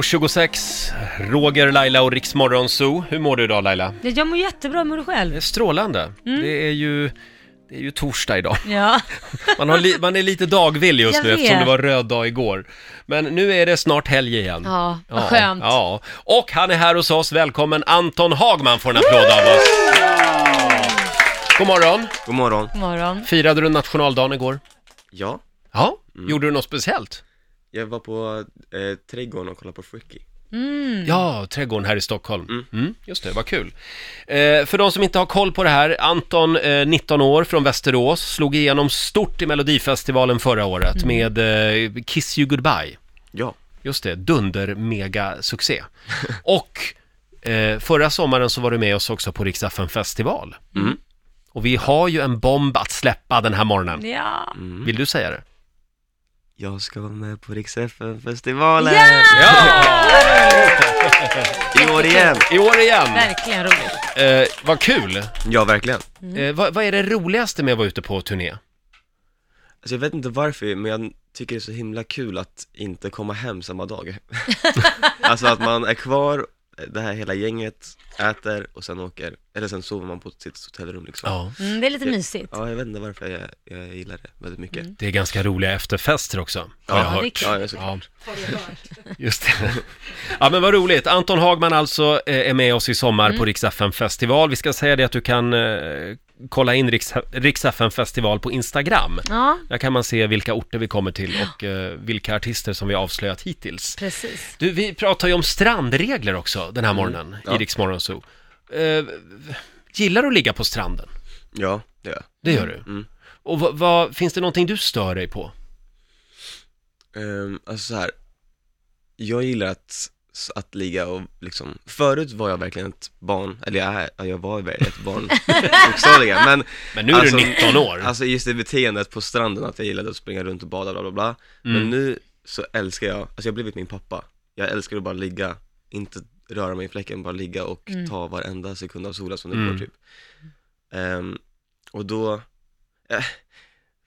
8.26, Roger, Laila och Riksmorgon Zoo. Hur mår du idag Laila? Mm. Ja, Jag mår jättebra, mår du Det själv? är strålande. Det är ju... Det är ju torsdag idag. Ja, Man, har li- man är lite dagvill just Jag nu eftersom det vet. var röd dag igår. Men nu är det snart helg igen. ja vad skönt. Ja. Och han är här hos oss. Välkommen Anton Hagman får en applåd av oss. God morgon. God morgon. God morgon. Firade du nationaldagen igår? Ja, Ja. Gjorde du något speciellt? jag var på eh, trädgården och kollade på Fricky. Mm, Ja, trädgården här i Stockholm. Mm. just det, vad kul. Eh, för de som inte har koll på det här, Anton, eh, 19 år, från Västerås, slog igenom stort i Melodifestivalen förra året med eh, Kiss You Goodbye. Ja, Just det, dunder-mega-succé. och eh, förra sommaren så var du med oss också på Rix FM festival. Mm. Och vi har ju en bomb att släppa den här Mm. morgonen. Ja. Mm. Vill du säga det? jag ska vara med på Rix festivalen Ja! i år igen. I år igen! Verkligen roligt. Eh, vad kul! Ja, verkligen. Eh, vad, vad är det roligaste med att vara ute på turné? Alltså jag vet inte varför, men jag tycker det är så himla kul att inte komma hem samma dag. alltså att man är kvar, det här hela gänget, äter och sen åker, eller sen sover man på sitt hotellrum liksom. Ja. Mm, det är lite mysigt. Ja, jag vet inte varför jag, jag gillar det väldigt mycket. Det är ganska roliga efterfester också, har Ja, jag det är hört. kul. Ja, jag är så Ja. Just det. Ja men vad roligt. Anton Hagman alltså eh, är med oss i sommar Mm. på Rix FM festival. Vi ska säga det att du kan eh, kolla in Rix- Rix FM festival på Instagram. Ja, Där kan man se vilka orter vi kommer till och eh, vilka artister som vi har avslöjat hittills. precis. Du, vi pratar ju om strandregler också den här morgonen i Mm. ja. Rix Morgon Zoo. Eh, gillar du att ligga på stranden? Ja, det gör jag. Det gör du. Mm. Och vad, vad, finns det någonting du stör dig på? Um, alltså så här. jag gillar att, att ligga och liksom, förut var jag verkligen ett barn, eller jag, är, ja, jag var verkligen ett barn bokstavligen, men Men nu är Alltså- du 19 år. alltså just det beteendet på stranden, att jag gillade att springa runt och bada, bla bla bla, men nu så älskar jag, alltså jag har blivit min pappa, jag älskar att bara ligga, inte röra mig i fläcken, bara ligga och ta varenda sekund av solen som det Mm. går typ. Ehm, och då, eh,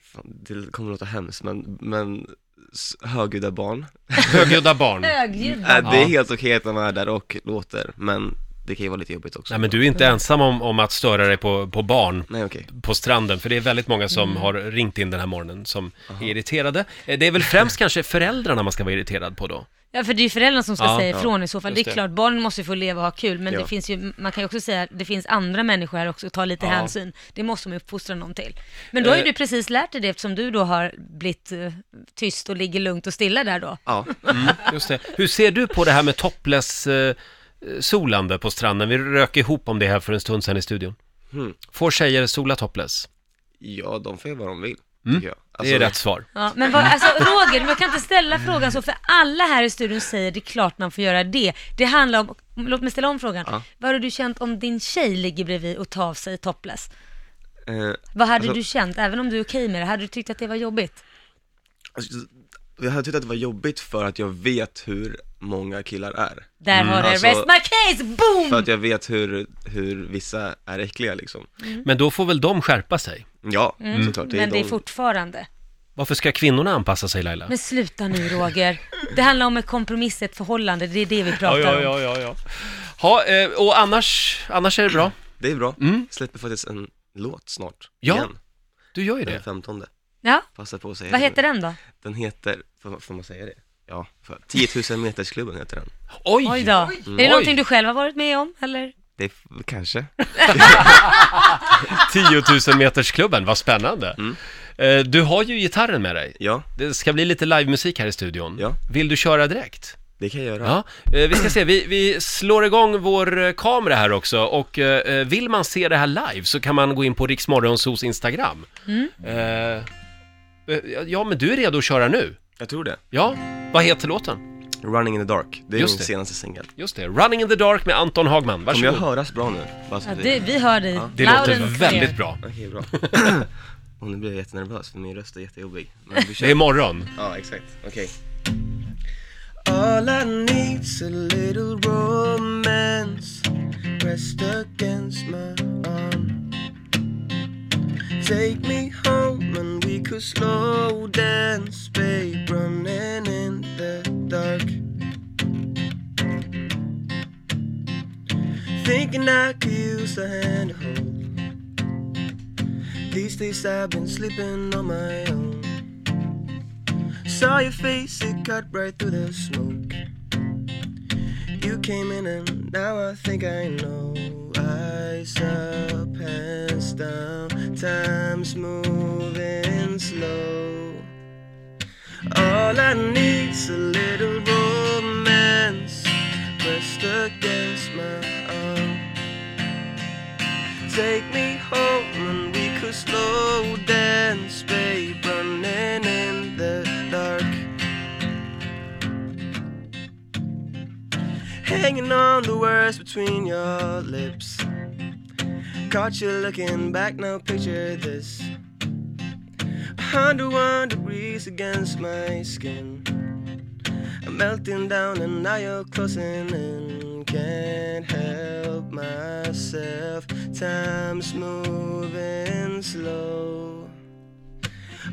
fan, det kommer låta hemskt men, men s- högljudda barn Högljudda barn. Högljudda. Äh, det Ja. är helt okej att de är där och låter, men det kan ju vara lite jobbigt också. Nej men du är inte ensam om, om att störa dig på, på barn Nej okej. på stranden, för det är väldigt många som har ringt in den här morgonen som är irriterade. Eh, Det är väl främst kanske föräldrarna man ska vara irriterad på då? Ja, för det är ju föräldrarna som ska Ja, säga ja. ifrån i så fall. Det Just är det. klart, barnen måste ju få leva och ha kul, men Ja. det finns ju, man kan ju också säga att det finns andra människor här också, ta lite Ja. hänsyn. Det måste man ju uppfostra någon till. Men då har ju Eh. du precis lärt dig det eftersom du då har blivit eh, tyst och ligger lugnt och stilla där då. Ja, Mm, Just det. Hur ser du på det här med topless eh, solande på stranden? Vi rök ihop om det här för en stund sedan i studion. Mm. Får tjejer sola topless? ja de får göra vad de vill, tycker jag. Mm. Det är rätt svar. Ja, men vad, alltså, Roger, man kan inte ställa frågan så, för alla här i studion säger det är klart man får göra det. Det handlar om, låt mig ställa om frågan. Ja. Vad hade du känt om din tjej ligger bredvid och tar av sig topless? Eh, Vad hade Alltså- du känt, även om du är okej med det, hade du tyckt att det var jobbigt? alltså, jag hade tyckt att det var jobbigt för att jag vet hur många killar är. Där har du Alltså- rest my case, boom! För att jag vet hur, hur vissa är äckliga liksom. Mm. Men då får väl de skärpa sig? Ja, såklart. men det är de- fortfarande. Varför ska kvinnorna anpassa sig Laila? Men sluta nu Roger. Det handlar om en kompromiss, ett förhållande, det är det vi pratar om. ja, ja. Ha, eh, och annars, annars är det bra? Det är bra. Mm. Släpper faktiskt en låt snart. Ja, Igen, Du gör ju den det. 15. Ja, Passa på att säga vad det. heter den då? Den heter, får, får man säga det? Ja, för 10 000 metersklubben heter den. Oj! Oj då. Är det Oj. någonting du själv har varit med om, eller? Det är, f- kanske. 10 000 metersklubben, vad spännande. Eh, Du har ju gitarren med dig. Ja, Det ska bli lite livemusik här i studion. Ja. Vill du köra direkt? det kan jag göra. Ja. Eh, Vi ska se, vi, vi slår igång vår eh, kamera här också och eh, eh, vill man se det här live så kan man gå in på Riksmorgonsos Instagram. Eh, eh, Ja, men du är redo att köra nu. Jag tror det. Ja, vad heter låten? Running in the dark, det är Just min det. senaste singel. Just det, Running in the Dark med Anton Hagman. Kommer jag Varsågod. höras bra nu? Bara så Ja, vi- det, vi hör dig. Det Loud låter and väldigt clear. bra. Okej, bra. Och nu blir jag jättenervös för min röst är jättejobbig. Men vi Det är kör. imorgon. Ja, exakt. Okej. All I need's a little romance Pressed against my arm Take me home and we could slow dance Babe, running in the dark thinking I could use a hand to hold. These days I've been sleeping on my own. Saw your face, it cut right through the smoke. You came in and now I think I know. Eyes up, hands down, time's moving slow. All I need's a little romance pressed against my arm. Take me home and we could slow dance, babe, running in the dark. Hanging on the words between your lips. Caught you looking back, now picture this. 101 degrees against my skin. I'm melting down and now you're closing in. Can't help myself, time's moving slow.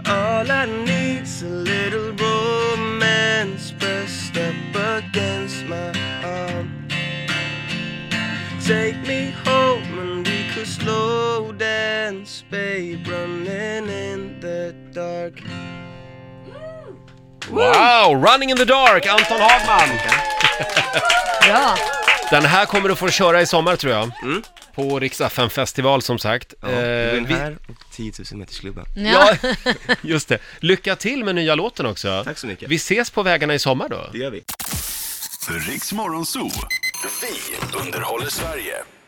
All I need's a little romance pressed up against my arm. Take me home and we could slow dance, babe, running in the dark. Wow, Running in the Dark, Anton Hagman! Bra. Den här kommer du få köra i sommar tror jag. På Rix FM festival som sagt. Mm. Ja, Eh, du är vi- här och 10 000 meters klubban. Ja, Ja. just det. Lycka till med nya låten också. Tack så mycket. Vi ses på vägarna i sommar då. Det gör vi. Riks Morgonzoo. Vi underhåller Sverige.